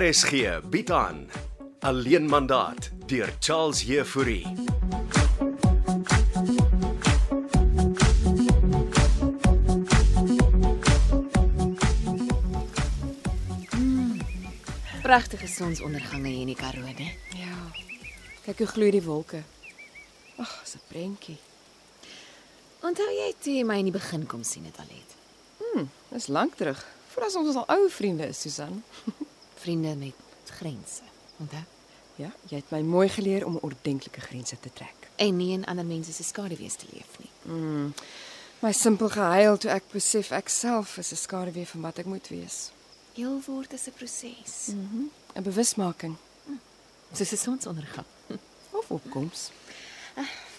RSG bied aan Alleen mandaat deur Charles Heffouri. Pragtige sonsondergange hier in die Karoo, né? Ja. Kyk hoe gloei die wolke. Ag, dis 'n prentjie. Onthou jy toe jy my in die begin kom sien het Alet? Dis lank terug. Voordat ons al ou vriende is, Susan. Vriende met grense, onthou? Ja, jy het my mooi geleer om ordentlike grense te trek. En nie in ander mense se skaduwees te leef nie. My simpel gehuil toe ek besef ek self is 'n skaduwee van wat ek moet wees. Heel word is 'n proses, mm. 'n Bewusmaking soos 'n sonsondergang. of opkoms.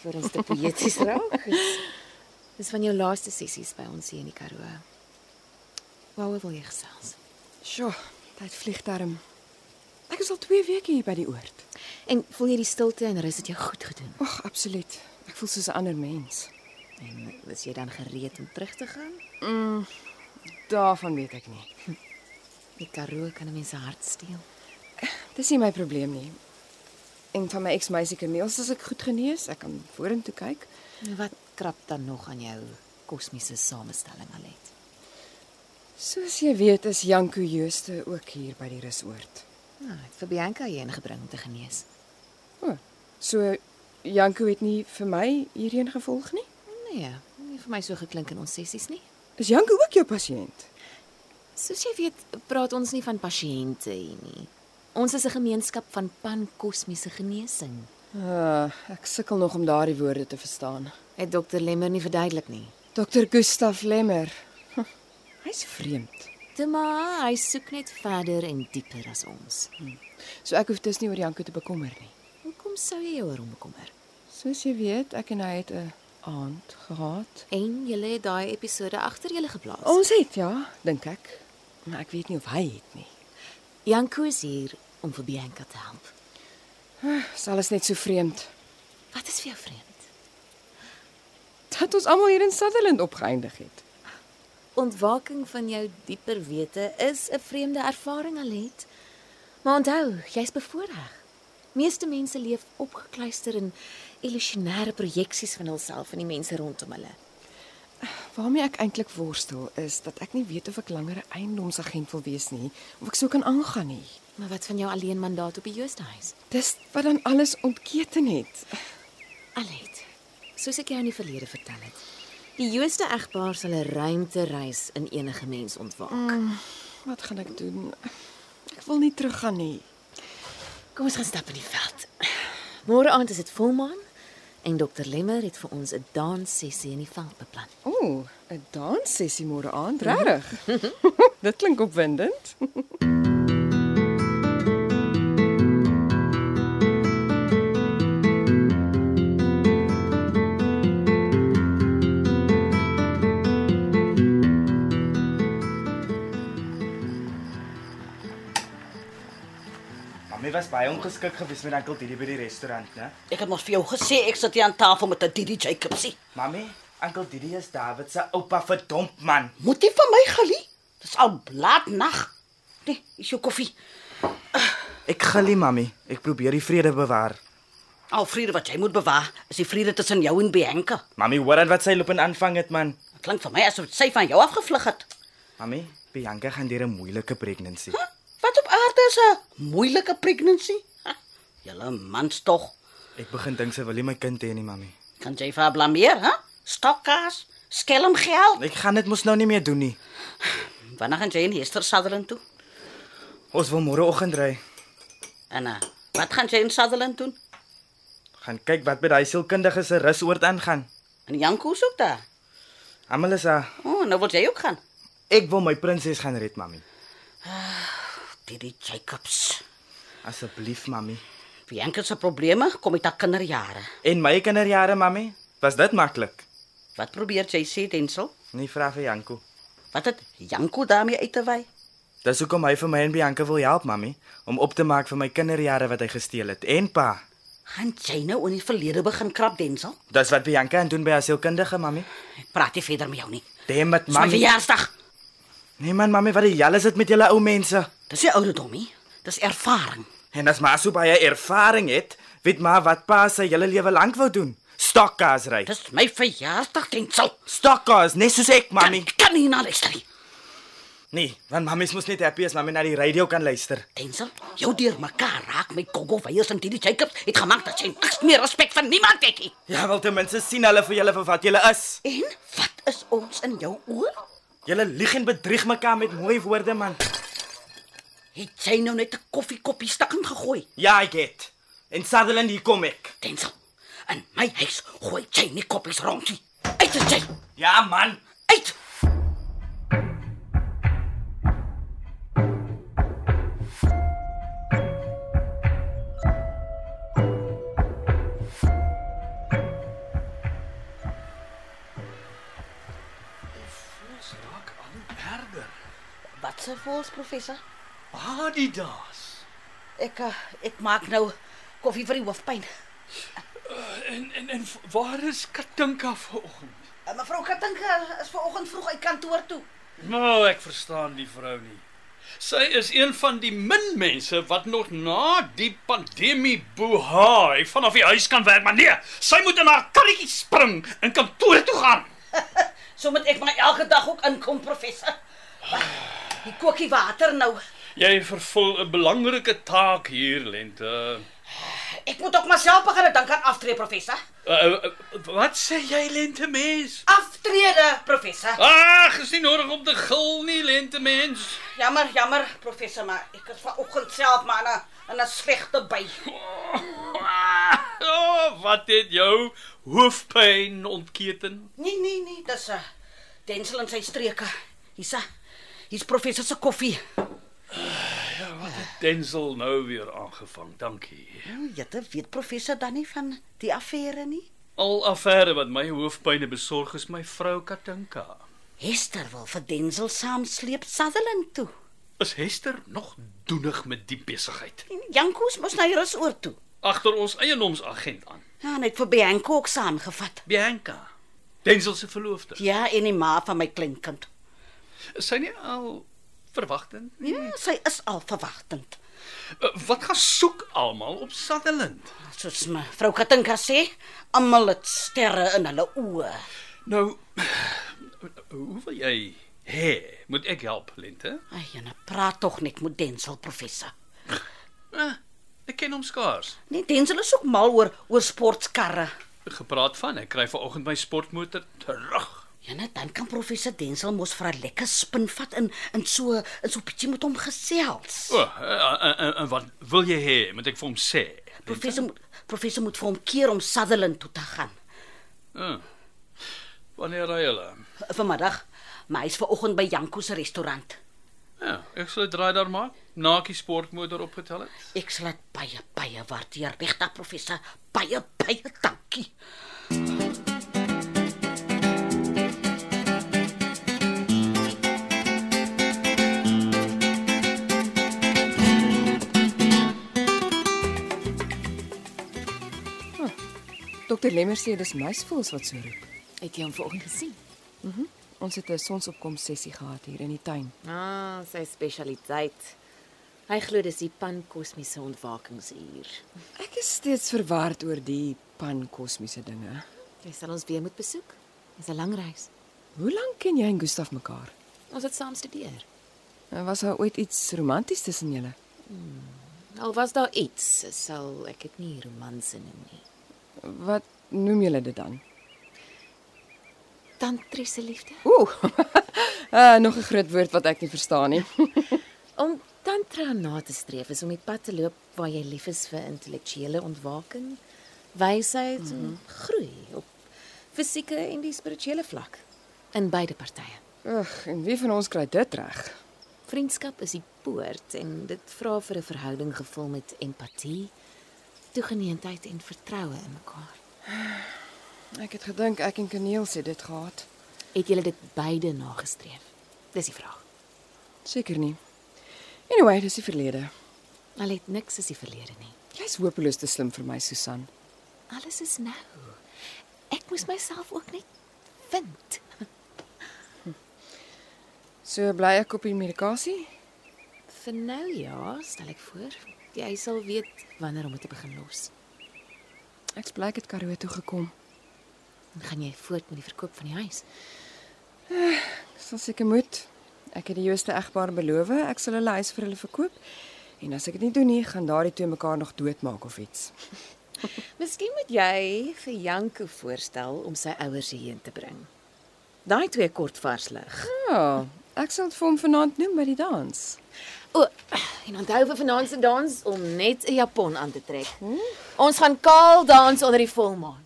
Vir ons te poeties raak. Dis, dis van jou laaste sessies by ons hier in die Karoo. Waaroor wil jy gesels? Sjoe, tyd vlieg darm. Ek is al 2 weke hier by die oord. En voel jy die stilte en rus het jou goed gedoen? Ag, absoluut. Ek voel soos 'n ander mens. En is jy dan gereed om terug te gaan? Daarvan weet ek nie. Die Karoo kan 'n mens se hart steel. Dis nie my probleem nie. En van my eksmeisie Kameels is ek goed genees. Ek kan vorentoe kyk. En Wat krap dan nog aan jou kosmiese samestelling Alet? Soos jy weet is Janko Jooste ook hier by die rusoord. Nou, ek het vir Bianca hierheen gebring om te genees. O. So Janko het nie vir my hierheen gevolg nie. Nee, nie vir my so geklink in ons sessies nie. Is Janko ook jou pasiënt? Soos jy weet, praat ons nie van pasiënte hier nie. Ons is 'n gemeenskap van pankosmiese genesing. Uh, ek sukkel nog om daardie woorde te verstaan. Het dokter Lemmer nie verduidelik nie. Dr. Gustaf Lemmer. Huh, Hy's vreemd. Toe maar, hy soek net verder en dieper as ons. So ek hoef dus nie oor Janko te bekommer nie. Hoekom sou jy jou oor hom bekommer? Soos jy weet, ek en hy het 'n aand gehad. En jy het daai episode agter julle geplaas. Ons het ja, dink ek. Maar ek weet nie of hy het nie. Janko is hier om vir Bianca te help. Dis alles net so vreemd. Wat is vir jou vreemd? Dat ons almal hier in Sutherland opgeëindig het. Ontwaking van jou dieper wete is 'n vreemde ervaring alet. Maar onthou, jy's bevoordeel. Meeste mense leef opgekluister in illusionêre projeksies van hulself en die mense rondom hulle. Waarmee ek eintlik worstel is dat ek nie weet of ek langer 'n eiendomsagent wil wees nie, of ek so kan aangaan nie. Maar wat van jou alleen mandaat op die Joostehuis? Dis wat dan alles ontketen het. Alet, soos ek jou in die verlede vertel het, die Jooste egpaar sal 'n ruimte reis in enige mens ontwaak. Wat gaan ek doen? Ek wil nie teruggaan nie. Kom ons gaan stap in die veld. Môre aand is dit volmaan en dokter Lemmer het vir ons 'n danssessie in die veld beplan. Ooh, 'n danssessie môre aand, regtig? Dit klink opwindend. Mamy was baie ongeskik gewees met Oom Didi by die restaurant, né? Ek het mos vir jou gesê ek sit hier aan tafel met 'n Didi Jacobsie. Mamy, Oom Didi is David se oupa verdomp man. Moet jy van my galie? Dis al laat nag. Nee, is jou koffie. Ek galie, mamy. Ek probeer die vrede bewaar. Al vrede wat jy moet bewaar, is die vrede tussen jou en Bianca. Mamy, hoor aan wat sy loop en aanvang het man. Dit klink vir my asof sy van jou afgevlug het. Mamy, Bianca gaan deur 'n moeilike pregnancy. Huh? Wat op aarde is 'n moeilike pregnancy? Ha, Julle mans tog. Ek begin dink sy wil nie my kind hê nie, mamy. Kan jy vir haar blameer, hè? Stokkaas, skelm geld. Ek gaan dit mos nou nie meer doen nie. Wanneer gaan jy in Hester Sutherland toe? Ons wil môreoggend ry. En uh, wat gaan jy in Sutherland doen? Gaan kyk wat by daai sielkundige se rusoord aangaan. En Janko is ook daar. Almal is daar. O, oh, nou wil jy ook gaan. Ek wil my prinses gaan red, mamy. Didi Jacobs. Asseblief, mamy. Bianca se probleme kom uit haar kinderjare. En my kinderjare, mamy, was dit maklik. Wat probeer jy sê, Denzel? Nie vra Nee, vir Janko. Wat het Janko daarmee uit te wy? Dis hoekom hy vir my en Bianca wil help, mami, om op te maak vir my kinderjare wat hy gesteel het en pa. Gaan jy nou in die verlede begin krap densel? Dis wat Bianca aan doen by haar sielkundige, mami. Ek praat nie verder met jou nie. Damn it, Dis my mami. verjaarsdag. Nee man, mami, wat die jal is dit met julle ou mense? Dis nie ouderdom nie. Dis ervaring. En as maar so baie ervaring het, weet maar wat pa sy hele lewe lank wou doen. Stokkas ry. Dis my verjaarsdag densel. Stokkas, net soos ek, mami. Ek kan nie na luister nie. Nee, want mami moet net happy as mami na die radio kan luister. Densel, jou deur mekaar raak met Gogo Weyers en Didi Jacobs het gemaak dat jy niks meer respek van niemand het nie. Ja, wel ten minste sien hulle vir julle vir wat julle is. En wat is ons in jou oë? Julle lieg en bedrieg mekaar met mooi woorde, man. Het jy nou net 'n koffiekoppie stakking gegooi? Ja, ek het. En Sutherland hier kom ek. Densel, in my huis gooi jy nie koppies rond nie. Uit is jy. Ja, man. Uit. Herder, Wat se voels professor? Adidas. Ek eh, ek maak nou koffie vir die hoofpyn. Eh, En en en v- waar is Katinka vanoggend? Eh, Mevrou Katinka is vanoggend vroeg uit kantoor toe. Nou, ek verstaan die vrou nie. Sy is een van die min mense wat nog na die pandemie bohaai vanaf die huis kan werk, maar nee, sy moet in haar karretjie spring en kantoor toe gaan. So moet ek maar elke dag ook inkom professor. Wag, Die kokkie water nou. Jy vervul 'n belangrike taak hier, Lente. Ek moet ook myself begin dink aan aftrede professor. Uh, uh, wat sê jy, Lente mens? Aftrede professor. Ag, is nie nodig om te gil nie, Lente mens. Jammer, jammer professor, maar ek is vanoggend self maar in 'n- in 'n slegte by. Oh, wat het jou hoofpyn ontketen? Nee, nee, nee, dis 'n uh, Denzel en sy streke. Hier's 'n hier's professor se koffie. Denzel nou weer aangevang, dankie. Nou, jette, weet professor dan nie van die affære nie? Al affære wat my hoofpyne besorg is my vrou Katinka. Hester wil vir Denzel saamsleep Sutherland toe. Is Hester nog doenig met die besigheid? En Janko's mos na Iris oor toe. Agter ons eienaarsagent aan, Ja, net vir Bianca ook saamgevat. Bianca. Denzel se verloofde. Ja, en die ma van my kleinkind. Is sy nie al verwagtend? Ja, sy is al verwagtend. Uh, Wat gaan soek almal op Sutherland? Nou, Soos my vrou Katinka sê, almal het sterre in hulle oë. Nou, hoe wil jy hê? Moet ek help, Lente? Ai, en praat tog net met Denzel professor. Eh, ek ken hom skaars. Nee, Denzel is ook mal oor oor sportkarre. Gepraat van, ek kry vanoggend my sportmotor terug. Ja, net dan kan professor Denzel mos vir 'n lekker spin vat in in so in so bietjie met hom gesels. O, eh, en- en- en- en wat wil jy hê? Moet ek vir hom sê? Professor moet professor moet vir hom keer om Sutherland toe te gaan Uh, wanneer ry hulle? V- vanmiddag, maar hy's vanoggend by Janko se restaurant. Ja, ek sal 'n draai daar maak. Nakie sportmotor opgetel het. Ek sal dit baie baie waardeer, regtig professor, baie baie dankie. Dokter Lemmer sê dis muisvoels wat so roep. Het jy hom vanoggend gesien? Ons het 'n sonsopkom sessie gehad hier in die tuin. Ah, sy spesialiteit. Hy glo dis die pankosmiese ontwakingsuur. Ek is steeds verward oor die pankosmiese dinge. Jy sal ons weer moet besoek. Dis 'n lang reis. Hoe lank ken jy en Gustaf mekaar? Ons het saam studeer. En Was daar ooit iets romanties tussen julle? Al was daar iets, sal ek dit nie romanse noem nie. Wat noem julle dit dan? Tantriese liefde? Ooh. uh, nog 'n groot woord wat ek nie verstaan nie. Om tantra na te streef is om die pad te loop waar jy lief is vir intellektuele ontwaking, wysheid mm -hmm. en groei op fisieke en die spirituele vlak in beide partye. Ag, en wie van ons kry dit reg? Vriendskap is die poort en dit vra vir 'n verhouding gevul met empatie, toegeneentheid en vertroue in mekaar. Ek het gedink ek en Kaneel sê dit gehad. Het julle dit beide nagestreef? Dis die vraag. Seker nie. Anyway, dis die verlede. Al het niks is die verlede nie. Jy's hopeloos te slim vir my, Susan. Alles is nou. Ek moes myself ook net vind. So bly ek op die medikasie? Vir nou ja, stel ek voor. Jy sal weet wanneer om dit te begin los. Ek's bly ek het Karoo toe gekom. Dan gaan jy voort met die verkoop van die huis. Ek sal seker moet. Ek het die Jooste egpaar beloof ek sal hulle huis vir hulle verkoop. En as ek dit nie doen nie, gaan daardie twee mekaar nog doodmaak of iets. Miskien moet jy vir Janko voorstel om sy ouers hierheen te bring. Daai twee kort vars lig. Ja, ek sal dit vir hom vanaand noem by die dans. O, en onthou vir vanaand se dans om net 'n japon aan te trek. Hmm? Ons gaan kaal dans onder die volmaan.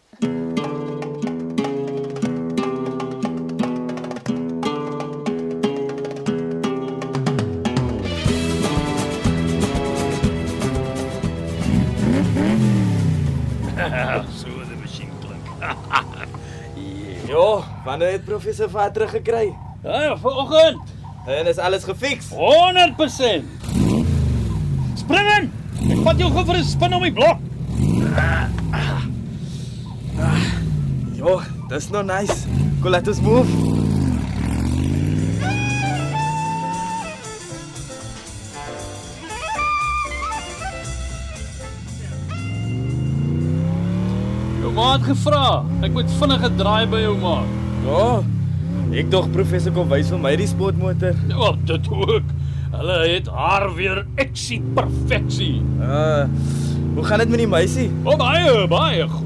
So die masjien klink. Ja, wanneer het professor Vat terug gekry? Ja, vanoggend En is alles gefiks? 100%. Spring in. Ek vat jou gou vir 'n spin om die blok. Ja, dis nou nice. Kom laat ons move. Jou maat gevra. Ek moet vinnig 'n draai by jou maak. Ja. Ek dog professor kom wys vir my die sportmotor. Ja, dit ook. Hulle het haar weer eksie perfeksie. Uh, hoe gaan dit met die meisie? O, baie, baie goed.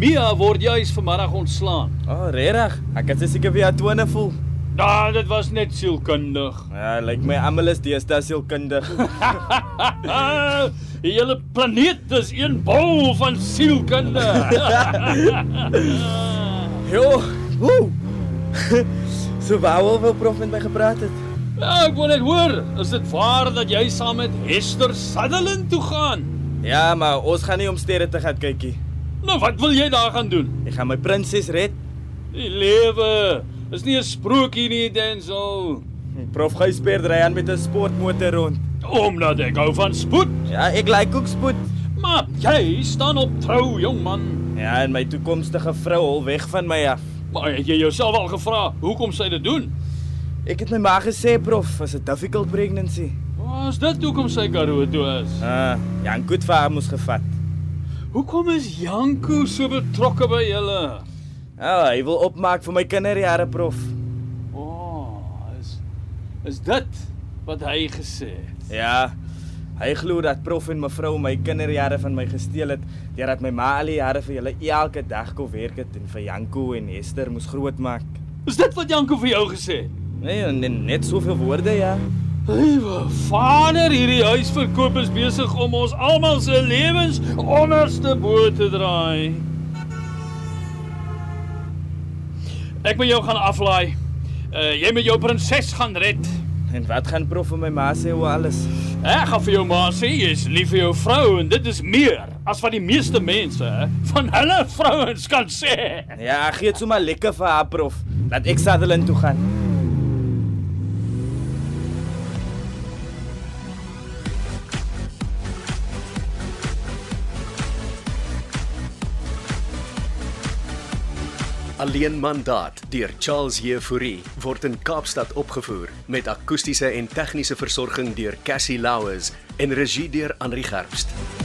Mia word juis vanmiddag ontslaan. Ah, oh, regtig? Ek kan sy seker vir jou tone voel. Nou, dit was net sielkundig. Ja, lyk like my almal is deesdae sielkundig. Ah, die hele planeet is een bol van sielkunde. Ja, jo, woe. so wou wel prof met my gepraat het. ja, ek wil net hoor, is dit waar dat jy saam met Hester Sutherland toe gaan? Ja, maar ons gaan nie om sterre te gaan kykie. Nou, wat wil jy daar gaan doen? Ek gaan my prinses red. Die lewe is nie 'n sprookie nie, Denzel. Prof Gysbert ry aan met 'n sportmotor rond. Omdat ek hou van spoed, Ja, ek like ook spoed. maar jy staan op trou, jong man. Ja, en my toekomstige vrou hol weg van my af. Maar het jy jouself al gevra hoekom sy dit doen? Ek het my ma gesê, prof, was 'n difficult pregnancy. Was dit hoekom sy Karoo toe is? Ah, Jan Koet vir haar moes gevat. Hoekom is Janko so betrokke by julle? Ah, hy wil opmaak vir my kinderjare, prof. O, oh, is is dit wat hy gesê het? Ja. Hy glo dat prof en mevrou my kinderjare van my gesteel het deurdat my ma al die jare vir julle elke dag kon werk het en vir Janko en Hester moes grootmaak. Is dit wat Janko vir jou gesê het? Nee, en- en net soveel woorde, ja. Liewe Vader, hierdie huis verkoop is besig om ons almal se lewens onderste bo te draai. Ek moet jou gaan aflaai. Uh, jy moet jou prinses gaan red. En wat gaan prof en my ma sê oor alles? Ek gaan vir jou ma sê jy's lief vir jou vrou en dit is meer as wat die meeste mense van hulle vrouens kan sê. Ja, gee dit sommer lekker vir haar prof. Laat ek Sutherland toe gaan. Alleen mandaat deur Charles Jefouri word in Kaapstad opgevoer met akoestiese en tegniese versorging deur Cassie Louws en regie deur Henri Gerst.